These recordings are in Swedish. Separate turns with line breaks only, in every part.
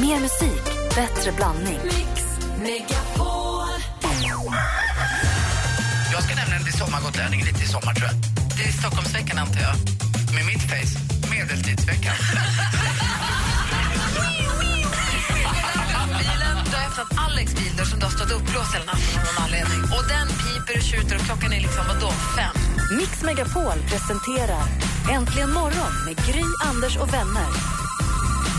Mer musik, bättre blandning.
Mix Megapol.
Jag ska nämna en till sommargotlänning lite i sommar, tror jag.
Det är Stockholmsveckan, antar jag. Med mitt face, medeltidsveckan. Bilen, du har öppnat Alex bil där som du har stått uppblåst hela natten av någon anledning. Och den piper och tjuter och klockan är liksom, vadå, fem?
Mix Megapol presenterar Äntligen morgon med Gry, Anders och vänner.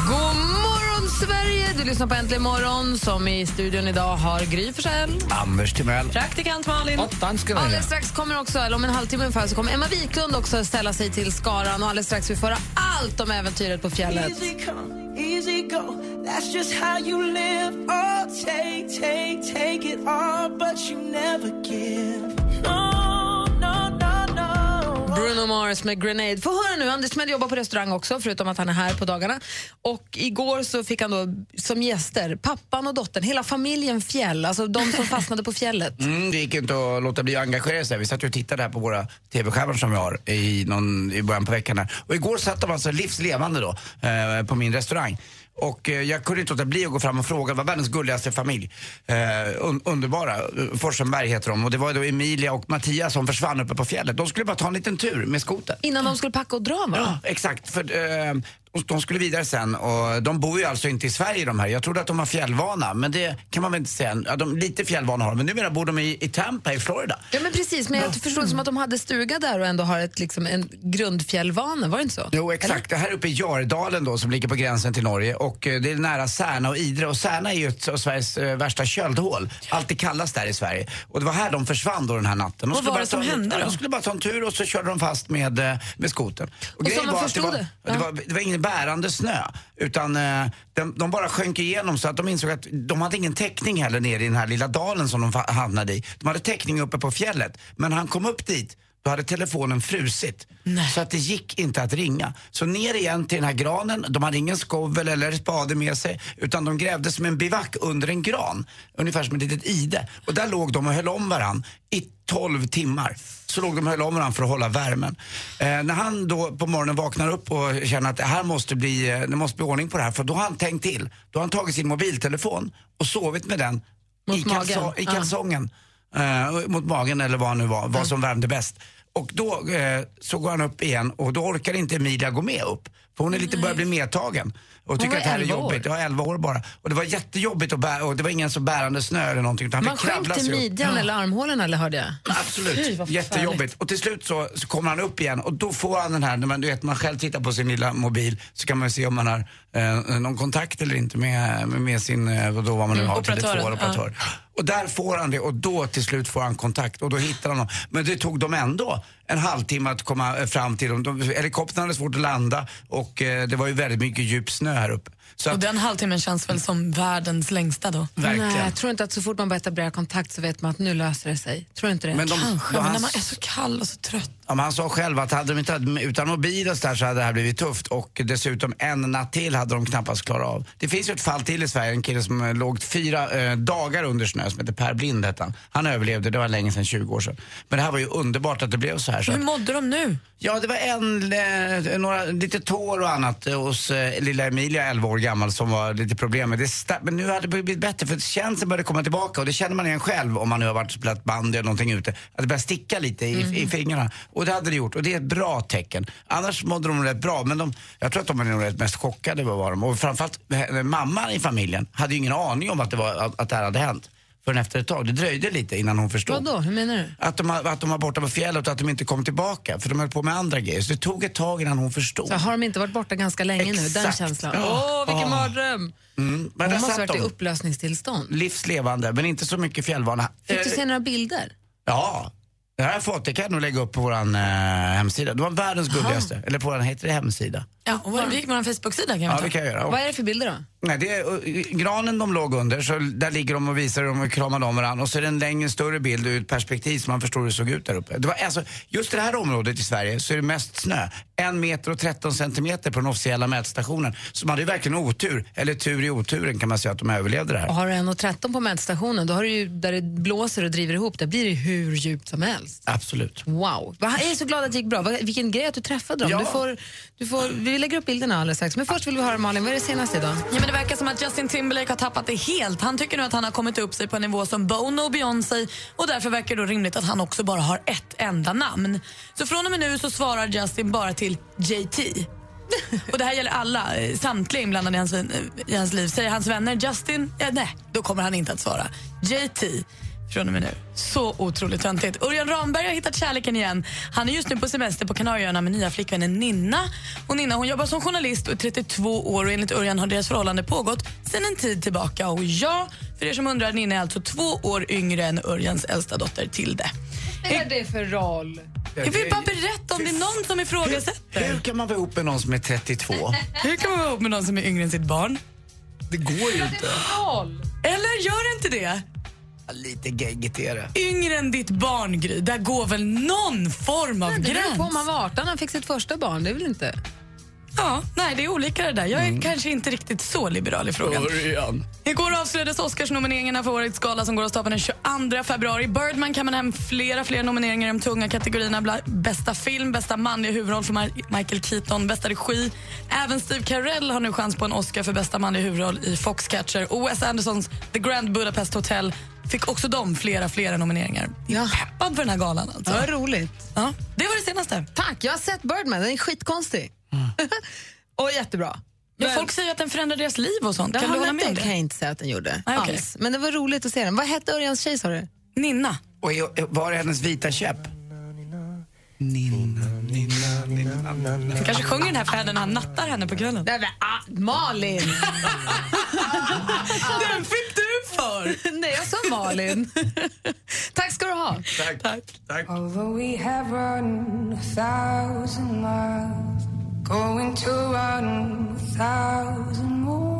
God morgon, Sverige! Du lyssnar på Äntligen morgon som i studion idag har Gry Forssell.
Anders Timell.
Praktikant Malin. Alldeles strax kommer också, eller om en halvtimme ungefär, så kommer Emma Wiklund också ställa sig till skaran och alldeles strax får vi föra allt om äventyret på fjället.
Easy come, easy go. That's just how you live. Oh, take, take, take it all, but you never give. No, no, no, no.
Bruno Mars med Grenade. Få höra nu, Anders Timell jobbar på restaurang också, förutom att han är här på dagarna. Och igår så fick han då som gäster pappan och dottern, hela familjen Fjäll, alltså de som fastnade på fjället.
Mm, det gick inte att låta bli att engagera sig. Vi satt ju och tittade här på våra TV-skärmar som vi har i, någon, i början på veckan. Här. Och igår satt de alltså livslevande då eh, på min restaurang. Och eh, jag kunde inte låta bli att gå fram och fråga, det var världens gulligaste familj. Eh, un underbara. Eh, Forsenberg heter de. Och det var då Emilia och Mattias som försvann uppe på fjället. De skulle bara ta en liten tur med skoter.
Innan de skulle packa och dra va?
Ja, exakt. För, eh, och de skulle vidare sen och de bor ju alltså inte i Sverige de här. Jag trodde att de var fjällvana, men det kan man väl inte säga. Ja, de, lite fjällvana har de, men numera bor de i, i Tampa i Florida.
Ja men precis, men jag förstod det som att de hade stuga där och ändå har ett, liksom, en grundfjällvana, var det inte så?
Jo, exakt. Det här uppe i Jardalen då, som ligger på gränsen till Norge. Och eh, det är nära Särna och Idre. Och Särna är ju ett av Sveriges eh, värsta köldhål. Alltid kallas där i Sverige. Och det var här de försvann då den här natten. De
Vad
skulle
var
bara
det som
ta en-
hände
ja,
då?
De skulle bara ta en tur och så körde de fast med, eh, med skoten. Och, grejen
som man
var att det
förstod
var,
det?
det, var, det var ingen bärande snö. Utan eh, de, de bara sjönk igenom så att de insåg att de hade ingen täckning heller nere i den här lilla dalen som de fa- hamnade i. De hade täckning uppe på fjället. Men han kom upp dit då hade telefonen frusit. Så att det gick inte att ringa. Så ner igen till den här granen. De hade ingen skovel eller spade med sig. Utan de grävde som en bivack under en gran. Ungefär som ett litet ide. Och där låg de och höll om varann i 12 timmar. Så låg de och höll om varandra för att hålla värmen. Eh, när han då på morgonen vaknar upp och känner att det här måste bli, eh, det måste bli ordning på det här. För då har han tänkt till. Då har han tagit sin mobiltelefon och sovit med den i,
magen.
kalso- i
Ja.
kalsongen. Eh, mot magen eller vad han nu var,
Mm.
vad som värmde bäst. Och då eh, så går han upp igen och då orkar inte Emilia gå med upp. För hon är lite börjar bli medtagen och tycker
var
att det här är
11 år.
jobbigt. Jag var 11 år bara. Och det var jättejobbigt att bära, och det var ingen så bärande snö eller någonting. Utan han
Man
fick kravla
sjönk till
sig upp.
midjan eller armhålorna eller hörde jag? Fy,
Absolut,
vad
jättejobbigt. Och till slut så, så kommer han upp igen och då får han den här, när man, du vet man själv tittar på sin lilla mobil så kan man ju se om man har eh, någon kontakt eller inte med, med, med sin, eh, vadå, vad man nu har,
operatören,
Tele2 eller
ja.
operatör. Och där får han det och då till slut får han kontakt och då hittar han honom. Men det tog dem ändå en halvtimme att komma eh, fram till dem. De, helikoptern hade svårt att landa och eh, det var ju väldigt mycket djup snö här uppe. Så
Och
att,
den halvtimmen känns väl som världens längsta då?
verkligen.
Nej, jag tror inte att så fort man börjar etablera kontakt så vet man att nu löser det sig. Tror du inte det?
Men de-
Kanske,
då
men
han-
när man är så kall och så trött.
Ja, men han sa själv att hade de inte haft- utan mobil och så, där så hade det här blivit tufft och dessutom en natt till hade de knappast klarat av. Det finns ju ett fall till i Sverige, en kille som eh, låg fyra eh, dagar under snö som heter Per Blind hette han. Han överlevde, det var länge sedan, 20 år sedan. Men det här var ju underbart att det blev så här. Så
Hur
att,
mådde de nu?
ja, det var en, eh, några, lite tår och annat eh, hos eh, lilla Emilia, 11 år gammal, som var lite problem med. Det sta- men nu hade det blivit bättre för känslan började komma tillbaka och det känner man igen själv om man nu har varit och spelat bandy eller någonting ute. Att det börjar sticka lite i, i fingrarna. Och det hade det gjort och det är ett bra tecken. Annars mådde de rätt bra men de, jag tror att de var nog rätt mest chockade vad var de. Och framförallt eh, mamman i familjen hade ju ingen aning om att det, var, att, att det här hade hänt. Förrän efter ett tag. Det dröjde lite innan hon förstod.
Vadå, hur menar du?
Att de, har- att de var borta på fjället och att de inte kom tillbaka för de höll på med andra grejer. Så det tog ett tag innan hon förstod.
Så har de inte varit borta ganska länge nu? Den
Exakt.
känslan. Åh,
Ja.
vilken
Ah.
mardröm!
Mm. Men
Hon
där
måste
satt
varit i
de.
upplösningstillstånd.
Livslevande, men inte så mycket fjällvana.
Fick du
Eh,
se några bilder?
Ja, det har jag fått. Det kan jag nog lägga upp på vår eh, hemsida. Det var världens gulligaste. Eller på vår, heter det hemsida?
Ja, och vi gick vår Facebook-sida kan vi
Ja,
ta.
det kan jag göra. Och,
Vad är det för bilder då?
nej, det är, och, i- granen de låg under, så där ligger de och visar hur de kramade om varandra. Och så är det en längre, större bild ur ett perspektiv så man förstår hur det såg ut där uppe. Det var, alltså, just i det här området i Sverige så är det mest snö. En meter och 13 centimeter på den officiella mätstationen. Så man hade ju verkligen otur, eller tur i oturen kan man säga att de överlevde det här.
Och har du 1,13 på mätstationen, då har du ju, där det blåser och driver ihop, där blir det hur djupt som helst.
Absolut.
Wow. Va- Jag är så glad att det gick bra. Va- Vilken grej att du träffade dem.
Ja.
Du får, du får, vi lägger upp bilderna alldeles strax. Men först vill vi höra Malin, vad är det senaste idag?
Ja, men det verkar som att Justin Timberlake har tappat det helt. Han tycker nu att han har kommit upp sig på en nivå som Bono och Beyoncé och därför verkar det då rimligt att han också bara har ett enda namn. Så från och med nu så svarar Justin bara till JT. Och det här gäller alla, eh, samtliga inblandade i hans, eh, i hans liv. Säger hans vänner Justin, ja, nej, då kommer han inte att svara. JT från och med nu. Så otroligt töntigt. Örjan Ramberg har hittat kärleken igen. Han är just nu på semester på Kanarieöarna med nya flickvännen Ninna. Och Ninna hon jobbar som journalist och är 32 år och enligt Örjan har deras förhållande pågått sedan en tid tillbaka. Och ja, för er som undrar, Ninna är alltså två år yngre än Örjans äldsta dotter Tilde.
Vad är det för roll?
Jag vill bara berätta om det är någon som ifrågasätter.
Hur kan man vara ihop med någon som är 32?
Hur kan man vara ihop med någon som är yngre än sitt barn?
Det går ju inte.
Roll?
Eller gör inte det?
Lite geggigt är det.
Yngre än ditt barn, Gry. Där går väl någon form av
Det beror på om
gräns?
han var 18 när han fick sitt första barn. Det är väl inte...
Ja, nej, det är olika det där. Jag är kanske inte riktigt så liberal i frågan.
Örjan.
Igår avslöjades Oscarsnomineringarna för årets gala som går av stapeln den 22 februari. Birdman kammade hem flera fler nomineringar i de tunga kategorierna. Bla- Bästa film, bästa manliga huvudroll för Ma- Michael Keaton, bästa regi. Även Steve Carell har nu chans på en Oscar för bästa manliga huvudroll i Foxcatcher. Och Wes Andersons The Grand Budapest Hotel fick också de flera, flera nomineringar. Jag är
Ja.
peppad för den här galan alltså.
Vad roligt.
Ja, det var det senaste.
Tack, jag har sett Birdman. Den är skitkonstig.
Mm.
och jättebra.
Men
Men-
folk säger att den förändrar deras liv och sånt.
Jaha,
Kan du hålla
men
med om
det? kan
det?
jag inte säga att den gjorde.
Nej, okej.
alls. Men det var roligt att se den. Vad hette Örjans tjej sa du?
Ninna.
Och är- var är hennes vita käpp?
Du kanske sjunger den här för henne när han nattar henne på kvällen.
Nej, men, ah, Malin!
Den fick du för!
Nej, jag sa Malin. Tack ska du ha.
Tack. Tack.
Although we have run a thousand miles, going to run a thousand more.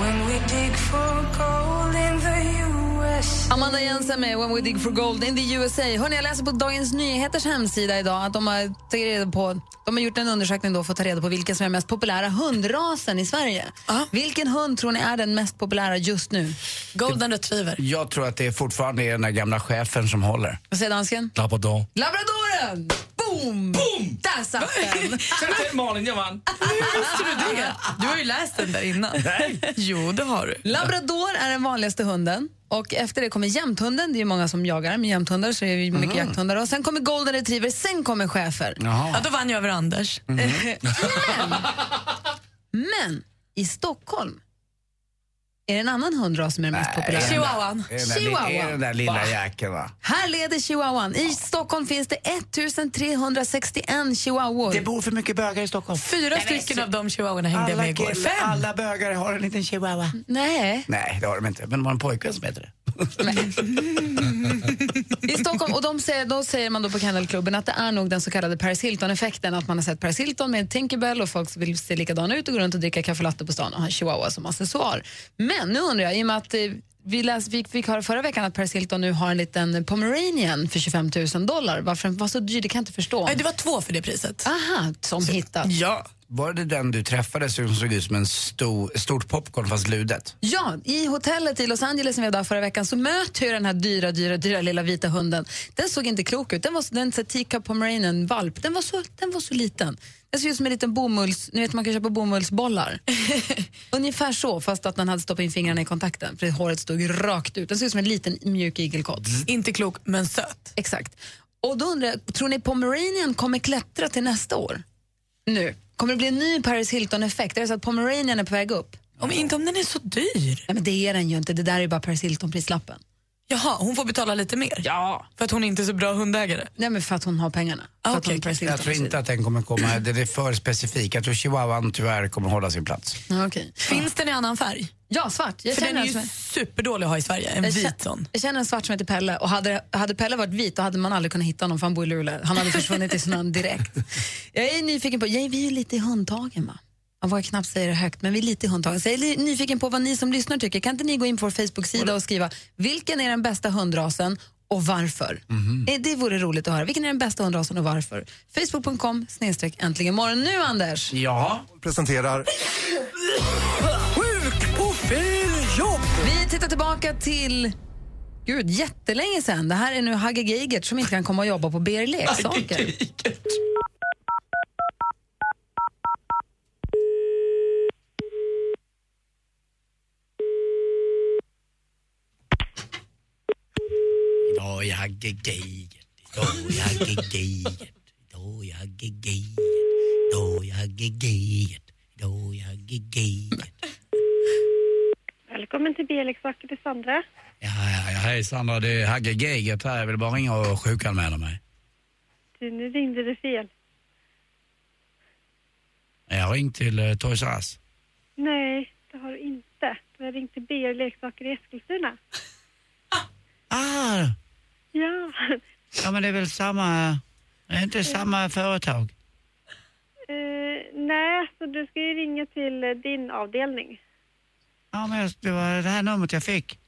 When we dig for gold in the U.S.
Amanda Jensen med When We Dig For Gold in the USA. Hörrni, jag läser på Dagens Nyheters hemsida idag att de har, tagit reda på, de har gjort en undersökning då för att ta reda på vilken som är den mest populära hundrasen i Sverige.
Ja.
Vilken hund tror ni är den mest populära just nu?
Golden retriever.
Jag tror att det är fortfarande är den där gamla chefen som håller.
Vad säger dansken?
Labrador.
Labradoren! Boom! Boom! Där satt den!
Malin, jag vann.
Du har ju läst den där innan. Nej. Jo, det har du.
Labrador är den vanligaste hunden. Och Efter det kommer jämthunden. Det är ju många som jagar med jämthundar. Så det är ju mycket jakthundar. Och Sen kommer golden retriever, sen kommer schäfer.
Ja,
Jaha.
då vann jag över Anders.
Mm.
Eh,
Men i Stockholm är det en annan hundras som är den mest populära.
Chihuahuan.
Är den där, li- är den där lilla jäkeln va?
Här leder chihuahuan. I Stockholm finns det 1361 chihuahuor.
Det bor för mycket bögar i Stockholm.
Fyra stycken av de chihuahuorna hängde jag
Alla,
med igår.
killar-
Fem! Mm.
alla bögar har en liten chihuahua.
Nej,
Nej, det har de inte. Men de har en pojkvän som heter det.
i Stockholm. Och de säger, då säger man då på Kennelklubben att det är nog den så kallade Paris Hilton-effekten. Att man har sett Paris Hilton med en Tinkerbell och folk vill se likadana ut och gå runt och dricka kaffe latte på stan och ha en chihuahua som accessoar. Men nu undrar jag, i och med att eh, vi, läs, vi fick höra förra veckan att Paris Hilton nu har en liten pomeranian för 25 000 dollar. Varför den var så dyr, det kan jag inte förstå.
Nej, det var två för det priset.
Aha, som hittat.
Ja.
Var det den du träffade som såg ut som en stor, stort popcorn fast ludet?
Ja, i hotellet i Los Angeles som vi var där förra veckan så möter jag den här dyra, dyra, dyra lilla vita hunden. Den såg inte klok ut. Den var så- den så Tika Pomeranian valp. Den var så, den var så liten. Den såg ut som en liten bomulls, ni vet man kan köpa bomullsbollar. Ungefär så, fast att den hade stoppat in fingrarna i kontakten för håret stod rakt ut. Den såg ut som en liten mjuk igelkott.
Inte klok, men söt.
Exakt. Och då undrar jag, tror ni Pomeranian kommer klättra till nästa år? Nu. Kommer det bli en ny Paris Hilton-effekt? Är det så att Pomeranian är på väg upp?
Om, inte om den är så dyr.
Nej, men det är den ju inte. Det där är ju bara Paris Hilton-prislappen.
Jaha, hon får betala lite mer?
Ja.
För att hon inte är så bra hundägare?
Nej, men för att hon har pengarna.
Ah,
för att
okej,
hon
okej.
precis
Jag tror inte att den kommer komma. Den är för specifik. Jag tror chihuahuan tyvärr kommer hålla sin plats.
Ja, Ah, okej.
Finns den i annan färg?
Ja, svart. Jag
För
känner, alltså-
den är
en
ju
som,
superdålig att ha i Sverige, en
jag,
vit
känner,
sån.
jag känner en svart som heter Pelle. Och hade, hade Pelle varit vit då hade man aldrig kunnat hitta honom för han bor i Luleå. Han hade försvunnit i snön direkt. Jag är nyfiken på, jag, vi är ju lite i hundtagen va? Jag vågar knappt säga det högt, men vi är lite i hundtagen. Så jag är li- nyfiken på vad ni som lyssnar tycker. Kan inte ni gå in på vår Facebook-sida och skriva vilken är den bästa hundrasen och varför?
Mhm.
Eh, Det vore roligt att höra. Vilken är den bästa hundrasen och varför? Facebook.com snedstreck äntligen morgon. Nu Anders!
Ja.
presenterar
Vi tittar tillbaka till Gud, jättelänge sedan. Det här är nu Hagge Geigert som inte kan komma och jobba på BR Leksaker.
gegejigt, då jag gegejigt, då jag gegejigt, då jag gegejigt, då jag gegejigt.
Välkommen till Bieleksbacken, det är Sandra.
Ja, ja, ja, hej Sandra, det är Hagge Geigert här. Jag vill bara ringa och sjukanmäla mig.
Du, nu ringde du fel.
Jag har ringt till eh, Toys R Us.
Nej, det har du inte. Du har ringt till BR Leksaker i Eskilstuna.
Ah,
Ja,
ja men det är väl samma, øh, det är inte samma företag?
eh, nej, så du ska ju ringa till eh, din avdelning.
Ja men jag- det var det här numret jag fick.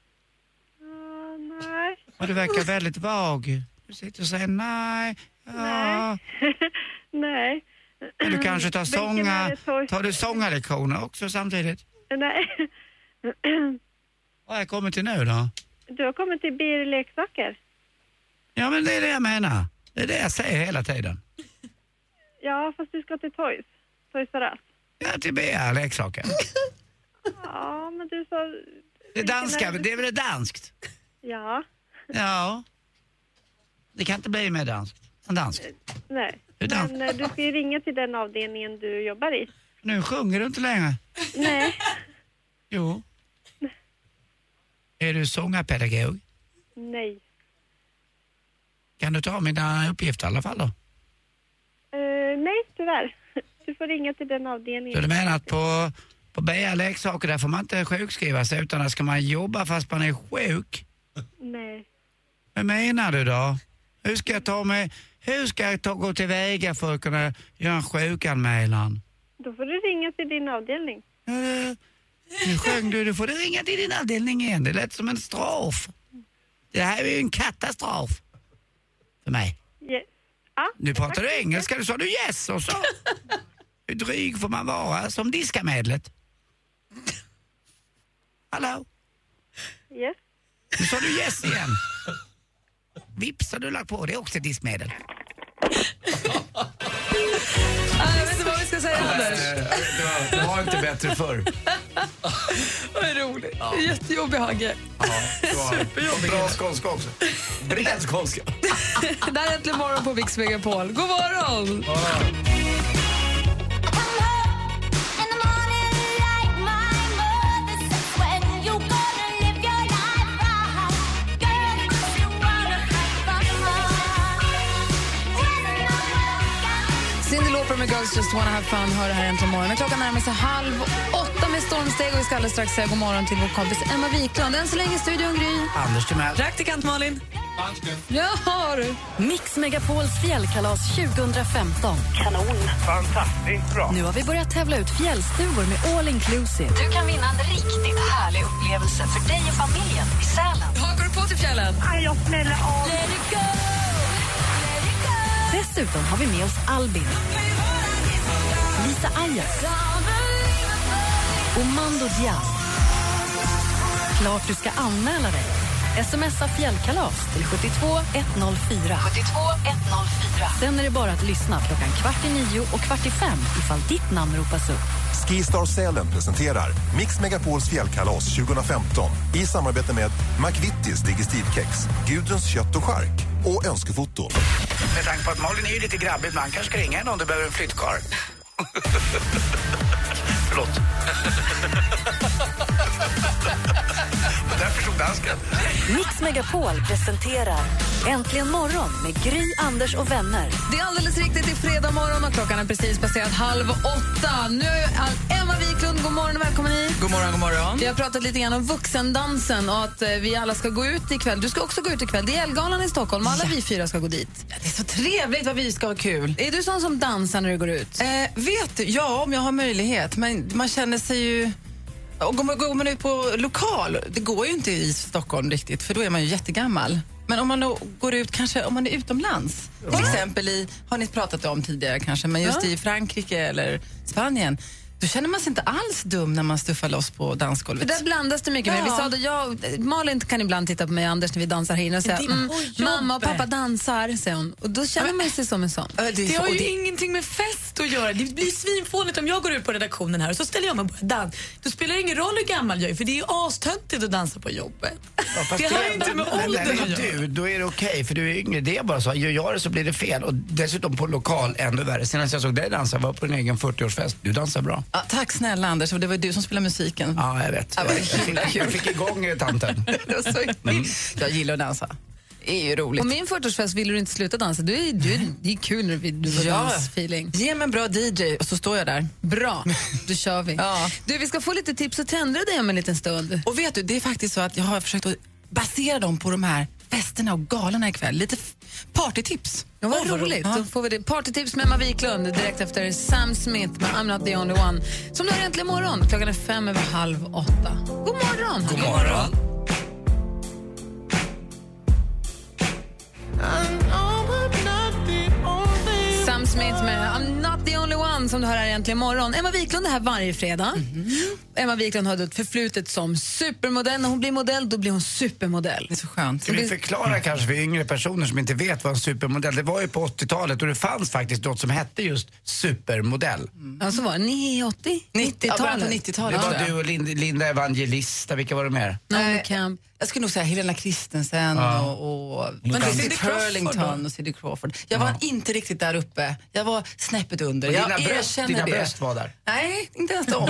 Ah, nej,
Och du verkar väldigt vag. Du sitter och säger nej, ja. Ah.
nej. nej.
Men du kanske tar
Vilken är
sånga,
det, Toys-
tar du sångarlektioner också samtidigt?
Nej,
Vad har jag kommit till nu då?
du har kommit till BR Leksaker.
Ja men det är det jag menar. Det är det jag säger hela tiden.
Ja, fast du ska till Toys. Toys R Us.
Ja, till BR leksaker.
Ja, men du sa...
Det är danska, det är väl danskt?
Ja,
Ja. Det kan inte bli mer danskt än danskt.
nej.
Det är dans-
Men eh, du ska ju ringa till den avdelningen du jobbar i.
Nu sjunger du inte längre.
Nej,
Jo. Är du sångarpedagog?
nej.
Kan du ta mina uppgifter i alla fall då?
Eh, nej, tyvärr. Du får ringa till den
Så du
avdelningen.
menar att på, på BR leksaker där får man inte sjukskriva sig utan där ska man jobba fast man är sjuk?
Nej.
Vad menar du då? Hur ska jag ta mig, hur ska jag ta, gå tillväga för att kunna göra en sjukanmälan?
Då får du ringa till din avdelning.
Ja, det- Nu sjöng du, du får du ringa till din avdelning igen. Det lät som en strof. Det här är ju en katastrof. För mig.
Yes. Ja,
Nu pratar du engelska, du sa du yes och så. Hur dryg får man vara som diskamedlet? Hallå?
yes.
Nu sa du yes igen. Vips har du lagt på, det är också ett diskmedel.
Ah, jag vet inte vad vi ska säga, Anders.
Eh, Det var inte bättre förr.
Vad roligt. Jättejobbig Hagge.
Bra skånska också. Bred skånska.
Det här är Äntligen morgon på Mix Megapol. God morgon!
Cyndi Lauper med Girls Just Wanna Have Fun hör det här äntligen morgon. Men Klockan närmar sig halv åtta med stormsteg och vi ska alldeles strax säga god morgon till vår kompis Emma Wiklund. Än så länge i studion, Gry.
Anders Timell.
Praktikant Malin.
Ja, har du.
Mix Megapols fjällkalas 2015. Kanon!
Fantastiskt bra.
Nu har vi börjat tävla ut fjällstugor med all inclusive.
Du kan vinna en riktigt härlig upplevelse för dig och familjen i Sälen.
Hakar du på till fjällen?
Aj, jag smäller av.
Dessutom har vi med oss Albin, Lisa Ajax och Mando Diaz. Klart du ska anmäla dig. Smsa fjällkalas till 72104.
72104.
Sen är det bara att lyssna klockan kvart i nio och kvart i fem ifall ditt namn ropas upp.
Skistar Sälen presenterar Mix Megapols fjällkalas 2015 i samarbete med McVittys Digestivkex, Gudruns kött och chark och Önskefoto.
Med tanke på att Malin är ju lite grabbig ibland kanske ska ringa henne om du behöver en flyttkarl. Förlåt. Där förstod dansken.
Mix Megapol presenterar Äntligen morgon med Gry, Anders och vänner.
Det är alldeles riktigt, det är fredag morgon och klockan är precis passerat halv åtta. Nu är all- Emma Wiklund, god morgon och välkommen hit.
God morgon, god morgon.
Vi har pratat lite grann om vuxendansen och att eh, vi alla ska gå ut ikväll. Du ska också gå ut ikväll. Det är Elgalan i Stockholm och alla vi fyra ska gå dit.
Det är så trevligt vad vi ska ha kul.
Är du sån som dansar när du går ut?
Eh, vet du, ja om jag har möjlighet, men man känner sig ju... Och går, man, går man ut på lokal, det går ju inte i Stockholm riktigt för då är man ju jättegammal. Men om man då går ut, kanske om man är utomlands, till exempel i, har ni pratat om tidigare kanske, men just i Frankrike eller Spanien,
Då känner man sig inte alls dum när man stuffar loss på
För
dansgolvet.
där blandas det mycket mer. Vi sa då,
eh,
jag, Malin kan ibland titta på mig och Anders när vi dansar här inne och säga
Det är
mm,
på jobbet."
mamma och pappa dansar, säger hon. Och då känner man sig som en sån.
Det, har ju ingenting med fest att göra. Det blir svinfånigt om jag går ut på redaktionen här och så ställer jag mig och börjar dansa. Då spelar det ingen roll hur gammal jag är för det är ju astöntigt att dansa på jobbet.
Fast
det har ju inte med
men
åldern
när
att
det är
göra.
du, Då är det okej, för du är yngre. Det är bara så. Gör jag det så blir det fel. Och dessutom på lokal, ännu värre. Senast jag såg dig dansa var på din egen 40-årsfest. Du dansar bra.
Ja, tack snälla Anders, och det var du som spelade musiken.
Ja, jag vet.
Ja,
Jag fick, jag fick igång eh, tanten.
Mm. Jag gillar att dansa. Det är ju roligt.
På min 40-årsfest ville du inte sluta dansa. Du, är- du, det är kul när vi- du får
Ja.
dansfeeling.
Ge mig en bra DJ och så står jag där.
Bra, då kör vi. Du, vi ska få lite tips och trender av dig om en liten stund.
Och vet du, det är faktiskt så att jag har försökt att basera dem på de här festerna och galorna ikväll. Lite f- partytips.
Ja, vad roligt. Då får vi det. Partytips med Emma Wiklund direkt efter Sam Smith med I'm not the only one. Som du har äntligen morgon. Klockan är fem över halv åtta. God morgon! God morgon! Sam Smith med I'm not the only one som du hör här egentligen imorgon. Emma Wiklund är här varje fredag. Emma Wiklund har ett förflutet som supermodell. När hon blir modell, då blir hon supermodell. Det är
så skönt.
Ska vi förklara kanske för yngre personer som inte vet vad en supermodell Det var ju på 80-talet och det fanns faktiskt något som hette just supermodell.
Ja, så var det. Ni är 80? 90-talet?
Det
tror
var
jag.
du och Lind- Linda Evangelista, vilka var det mer?
Nej,
jag skulle nog säga Helena Christensen
Ja.
och, och
Men det är
Sidney
Cindy Crawford
Turlington
då?
och Cindy Crawford. Jag var inte riktigt där uppe. Jag var snäppet under.
Och dina
jag
bröst,
erkänner
dina
det.
bröst var där.
Nej, inte ens de.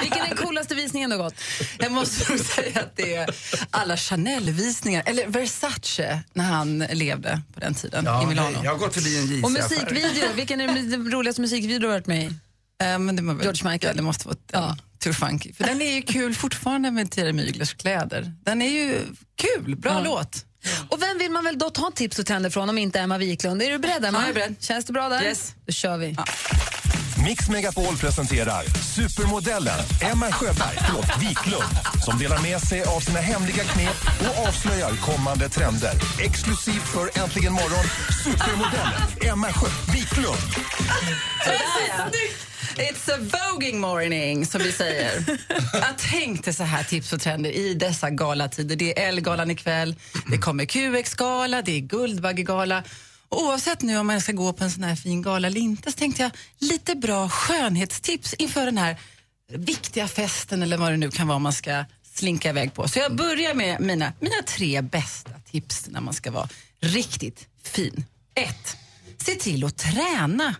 Vilken är den coolaste visningen du har gått?
Jag måste nog säga att det är alla Chanel-visningar, eller Versace när han levde på den tiden i Milano.
Jag har gått förbi en JC-affär.
Och musikvideo, vilken är den roligaste musikvideo du har varit med i?
Eh, men det var väl,
George Michael.
Ja, det måste vara ja. Too Funky. För den är ju kul fortfarande med Tira Myglers kläder. Den är ju kul, bra låt.
Och vem vill man väl då ta tips och trender från om inte Emma Wiklund? Är du beredd Emma? jag är beredd. Känns det bra där?
Yes.
Då kör vi.
Mix Megapol presenterar supermodellen Emma Sjöberg, förlåt, Wiklund som delar med sig av sina hemliga knep och avslöjar kommande trender. Exklusivt för Äntligen morgon, supermodellen Emma Sjö Wiklund.
It's a voguing morning, som vi säger. Jag tänkte så här tips och trender i dessa galatider. Det är Ellegalan ikväll, det kommer QX-gala, det är Guldbaggegala. Och Oavsett nu om man ska gå på en sån här fin gala eller inte så tänkte jag lite bra skönhetstips inför den här viktiga festen eller vad det nu kan vara man ska slinka iväg på. Så jag börjar med mina, mina tre bästa tips när man ska vara riktigt fin. Ett, se till att träna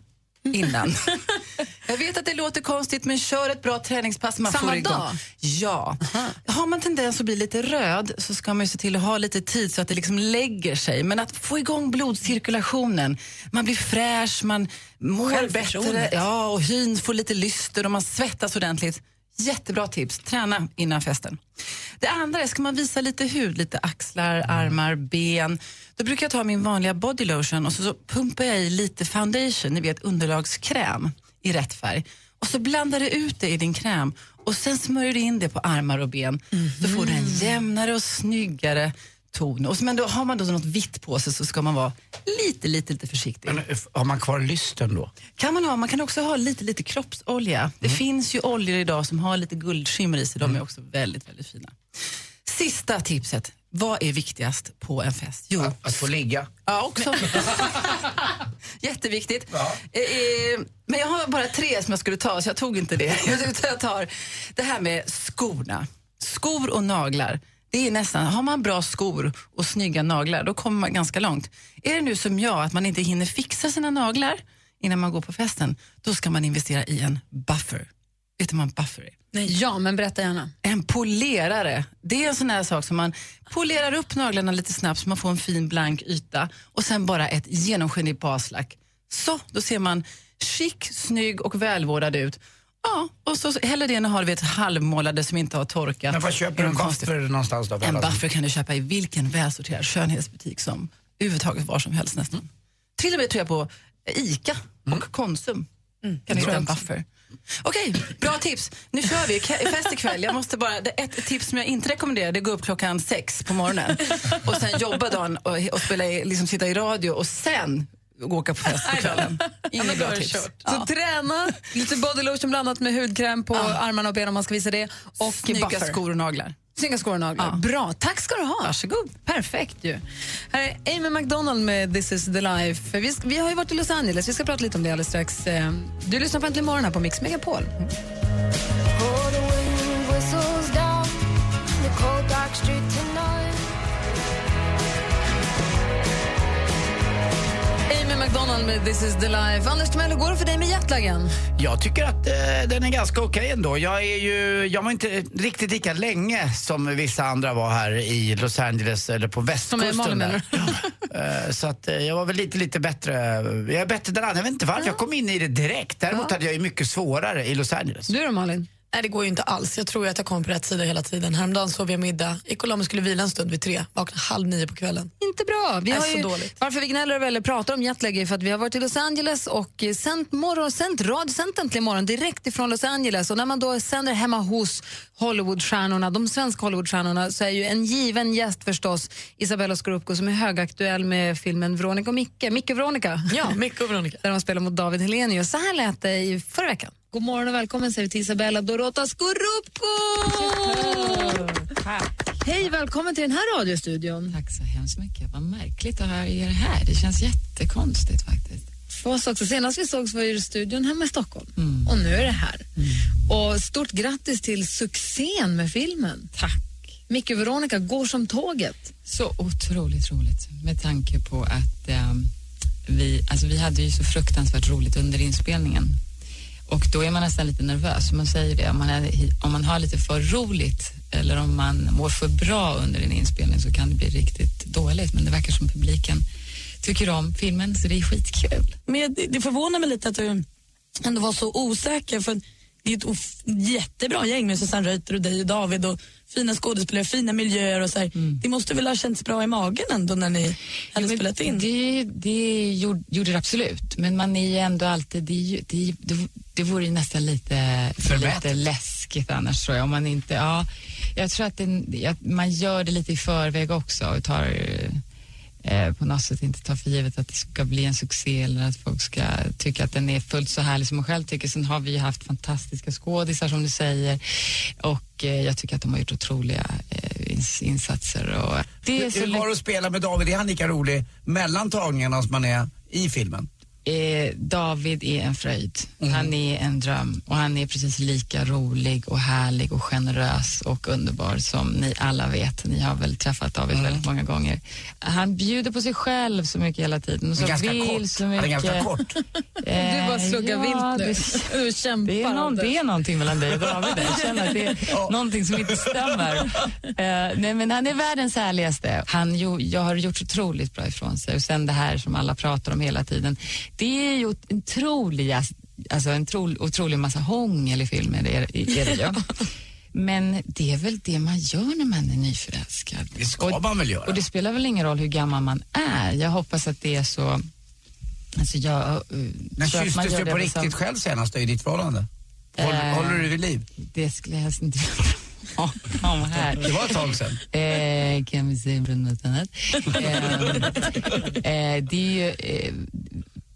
innan. Jag vet att det låter konstigt, men kör ett bra träningspass. Man
Samma
får igång.
dag?
Ja. Har man tendens att bli lite röd så ska man ju se till att ha lite tid så att det liksom lägger sig. Men att få igång blodcirkulationen, man blir fräsch, man mår bättre. Ja, och hyn får lite lyster och man svettas ordentligt. Jättebra tips. Träna innan festen. Det andra är, ska man visa lite hud, lite axlar, armar, ben. Då brukar jag ta min vanliga body lotion och så, så pumpar jag i lite foundation, ni vet underlagskräm i rätt färg. Och så blandar du ut det i din kräm och sen smörjer du in det på armar och ben. Då får du en jämnare och snyggare ton. Och, så- men då har man då något vitt på sig så ska man vara lite, lite, lite försiktig.
Men, eh, f- har man kvar lysten då?
Kan man, ha, man kan också ha lite, lite kroppsolja. Det
Mm.
finns ju oljor idag som har lite guldskimmer i sig. De är också väldigt, väldigt fina. Sista tipset. Vad är viktigast på en fest? Jo,
Att få ligga?
Ja, också. Jätteviktigt. Eh, eh, men jag har bara tre som jag skulle ta, så jag tog inte det. Utan jag tar det här med skorna. Skor och naglar. Det är nästan, har man bra skor och snygga naglar, då kommer man ganska långt. Är det nu som jag, att man inte hinner fixa sina naglar innan man går på festen, då ska man investera i en buffer. Vet du vad en buffer är?
Ja, men berätta gärna.
En polerare. Det är en sån här sak som man polerar upp naglarna lite snabbt så man får en fin blank yta och sen bara ett genomskinligt baslack. Så, då ser man chic, snygg och välvårdad ut. Ja, och så hellre det än att ha du vet, halvmålade som inte har torkat.
Men vad köper
Är
du
de
en
konstiga?
buffer någonstans då? för
En
alla som-
buffer kan du köpa i vilken välsorterad skönhetsbutik som överhuvudtaget var som helst nästan. Till och med tror jag på ICA
Mm.
och Konsum. Mm, Kan du hitta en buffer. Okej, bra tips. Nu kör vi. Ke- Fest ikväll. Jag måste bara, det- ett tips som jag inte rekommenderar det är att gå upp klockan sex på morgonen och sen jobba dagen och, och spela i, liksom sitta i radio och sen
och åka på fest på kvällen. Inget bra tips.
Så träna, lite body lotion blandat med hudkräm på armarna och benen om man ska visa det. Och
Snygga
buffer.
skor och naglar.
Snygga skor och naglar. Bra, tack ska du ha. Varsågod. Perfekt ju. Här är Amy McDonald med This is the life. Vi, ska, vi har ju varit i Los Angeles, vi ska prata lite om det alldeles strax. Eh, Du lyssnar på Äntligen morgon här på Mix Megapol.
Oh, the wind whistles down the cold dark street tonight.
Amy McDonald med This is the life. Anders Timell, hur går det för dig med jetlagen?
Jag tycker att eh, den är ganska okej ändå. Jag, är ju, jag var inte riktigt lika länge som vissa andra var här i Los Angeles eller på västkusten.
Malin,
där. Ja. Eh, Så att eh, jag var väl lite, lite bättre. Jag är bättre där. Jag vet inte varför. Jag kom in i det direkt. Däremot hade jag ju mycket svårare i Los Angeles.
Du då Malin?
Nej, det går ju inte alls. Jag tror ju att jag kommer på rätt sida hela tiden. Häromdagen sov jag middag. I Colombia skulle vila en stund vid tre. Vaknade halv nio på kvällen.
Inte bra. Vi
Nej,
har
så
ju,
dåligt.
varför vi gnäller och väl pratar om jetlag är för att vi har varit i Los Angeles och eh, sänt morgon, sänt rad, sänt äntligen morgon direkt ifrån Los Angeles. Och när man då sänder hemma hos Hollywoodstjärnorna, de svenska Hollywoodstjärnorna, så är ju en given gäst förstås Isabella Scorupco som är högaktuell med filmen Veronica och Micke. Micke och Veronica.
Ja, Micke och Veronica.
Där de spelar mot David Helenius. Så här lät det i förra veckan. God morgon och välkommen säger vi till Isabella Dorota Scorupco! Hej, välkommen till den här radiostudion.
Tack så hemskt mycket. Vad märkligt att höra er här. Det känns jättekonstigt faktiskt.
För oss också. Senast vi sågs var ju i studion hemma i Stockholm
Mm.
och nu är det här. Och stort grattis till succén med filmen. Tack. Micke och Veronica går som tåget.
Så otroligt roligt med tanke på att ehm, vi, alltså vi hade ju så fruktansvärt roligt under inspelningen. Och då är man nästan lite nervös. Man säger det, om man, är, om man har lite för roligt eller om man mår för bra under en inspelning så kan det bli riktigt dåligt. Men det verkar som publiken tycker om filmen så det är skitkul.
Men jag- det- det förvånar mig lite att du ändå var så osäker. För det är ett of- jättebra gäng med Susanne Reuter och dig och David och fina skådespelare, fina miljöer och så här. Det måste väl ha känts bra i magen ändå när ni hade spelat in?
Det, det gjorde, gjorde det absolut, men man är ju ändå alltid... Det, är ju- det, är ju- det, det vore ju nästan lite,
Förmätet.
lite läskigt annars, tror jag. Om man inte, ja, jag tror att, det, att man gör det lite i förväg också och tar, eh, på något sätt inte tar för givet att det ska bli en succé eller att folk ska tycka att den är fullt så härlig som man själv tycker. Sen har vi ju haft fantastiska skådisar, som du säger, och eh, jag tycker att de har gjort otroliga eh, ins- insatser. Och det är så
Hur var det att spela med David? Är han lika rolig mellan tagningarna som man är i filmen?
Eh, David är en fröjd.
Mm.
Han är en dröm och han är precis lika rolig och härlig och generös och underbar som ni alla vet. Ni har väl träffat David
Mm.
väldigt många gånger. Han bjuder på sig själv så mycket hela tiden. Och så
Ganska
vill
kort.
Så
Han är
mycket. Eh,
ganska kort. Du bara sluggar vilt nu.
nu.
Du kämpar.
Det är, någon,
Anders.
det är någonting mellan dig och David. där. Jag känner att det är
Ja.
någonting som inte stämmer. Eh, nej, men han är världens härligaste. Han jo, jag har gjort otroligt bra ifrån sig. Och sen det här som alla pratar om hela tiden. Det är ju en otrolig, alltså en tro, otrolig massa hångel i filmen. Det är, är det ju. Men det är väl det man gör när man är nyförälskad.
Det ska man väl göra?
Och det spelar väl ingen roll hur gammal man är. Jag hoppas att det är så... Alltså jag, eh,
När
tror att man
kysstes
gör
du
det
på
väl
riktigt
som-
själv senast då i ditt förhållande? Håller,
Eh.
håller du det vid liv?
Det skulle jag helst inte vilja prata om här.
Det var ett tag sedan.
Eh, kan vi säga från något annat? Eh, eh, det är ju eh,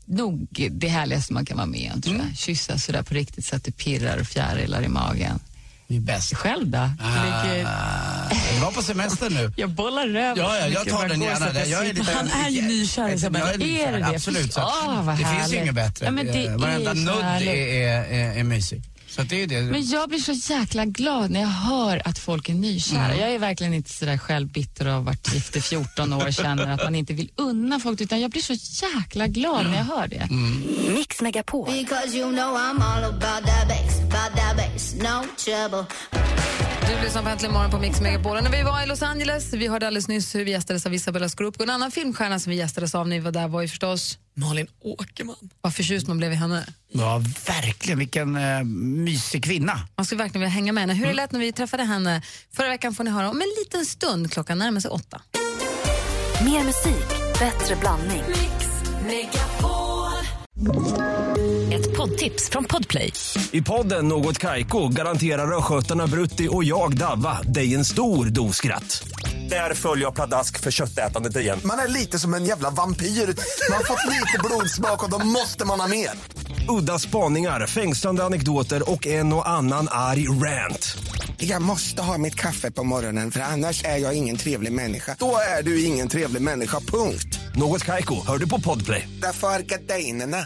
nog det härligaste man kan vara med om, tror
Mm.
jag. Kyssa sådär på riktigt så att det pirrar och fjärilar i magen.
Det är bäst.
Själv då? Vilket-
Ah, det var på semester nu.
Jag bollar över
Ja,
så
ja, jag
mycket
tar
bara
den
går så
gärna.
att
Där.
jag
Jag är lite,
slipper- Han är ju nykär, Isabella.
Jag är
Är
nykär,
det det?
absolut. Så
Åh, vad
det finns ju
härligt.
inget bättre.
Ja, men det
Eh, Varenda
är så
nudd är,
härligt.
är, är, är mysig. Så att det är ju det.
Men jag blir så jäkla glad när jag hör att folk är nykära.
Mm.
Jag är verkligen inte sådär självbitter och har varit gift i 14 år och känner att man inte vill unna folk utan jag blir så jäkla glad när jag hör det.
Mix Megapol.
Because you know I'm all about that bass, about that bass, no trouble.
Du lyssnar på Äntligen morgon på Mix Megapol. Och När vi var i Los Angeles, vi hörde alldeles nyss hur vi gästades av Isabella Scorupco. En annan filmstjärna som vi gästades av när vi var där var ju förstås
Malin Åkerman.
Vad förtjust man blev i henne.
Ja, verkligen. Vilken eh, mysig kvinna.
Man skulle verkligen vilja hänga med henne. Hur det
Mm.
lät när vi träffade henne förra veckan får ni höra om en liten stund. Klockan närmar sig åtta.
Mer musik, bättre blandning. Ett poddtips från Podplay.
I podden Något Kaiko garanterar östgötarna Brutti och jag, Davva, dig en stor dos skratt. Där följer jag pladask för köttätandet igen.
Man är lite som en jävla vampyr. Man har fått lite blodsmak och då måste man ha mer.
Udda spaningar, fängslande anekdoter och en och annan arg rant.
Jag måste ha mitt kaffe på morgonen för annars är jag ingen trevlig människa. Då är du ingen trevlig människa, punkt.
Något kajko, hör du på podplay.
Därför arkadeinerna.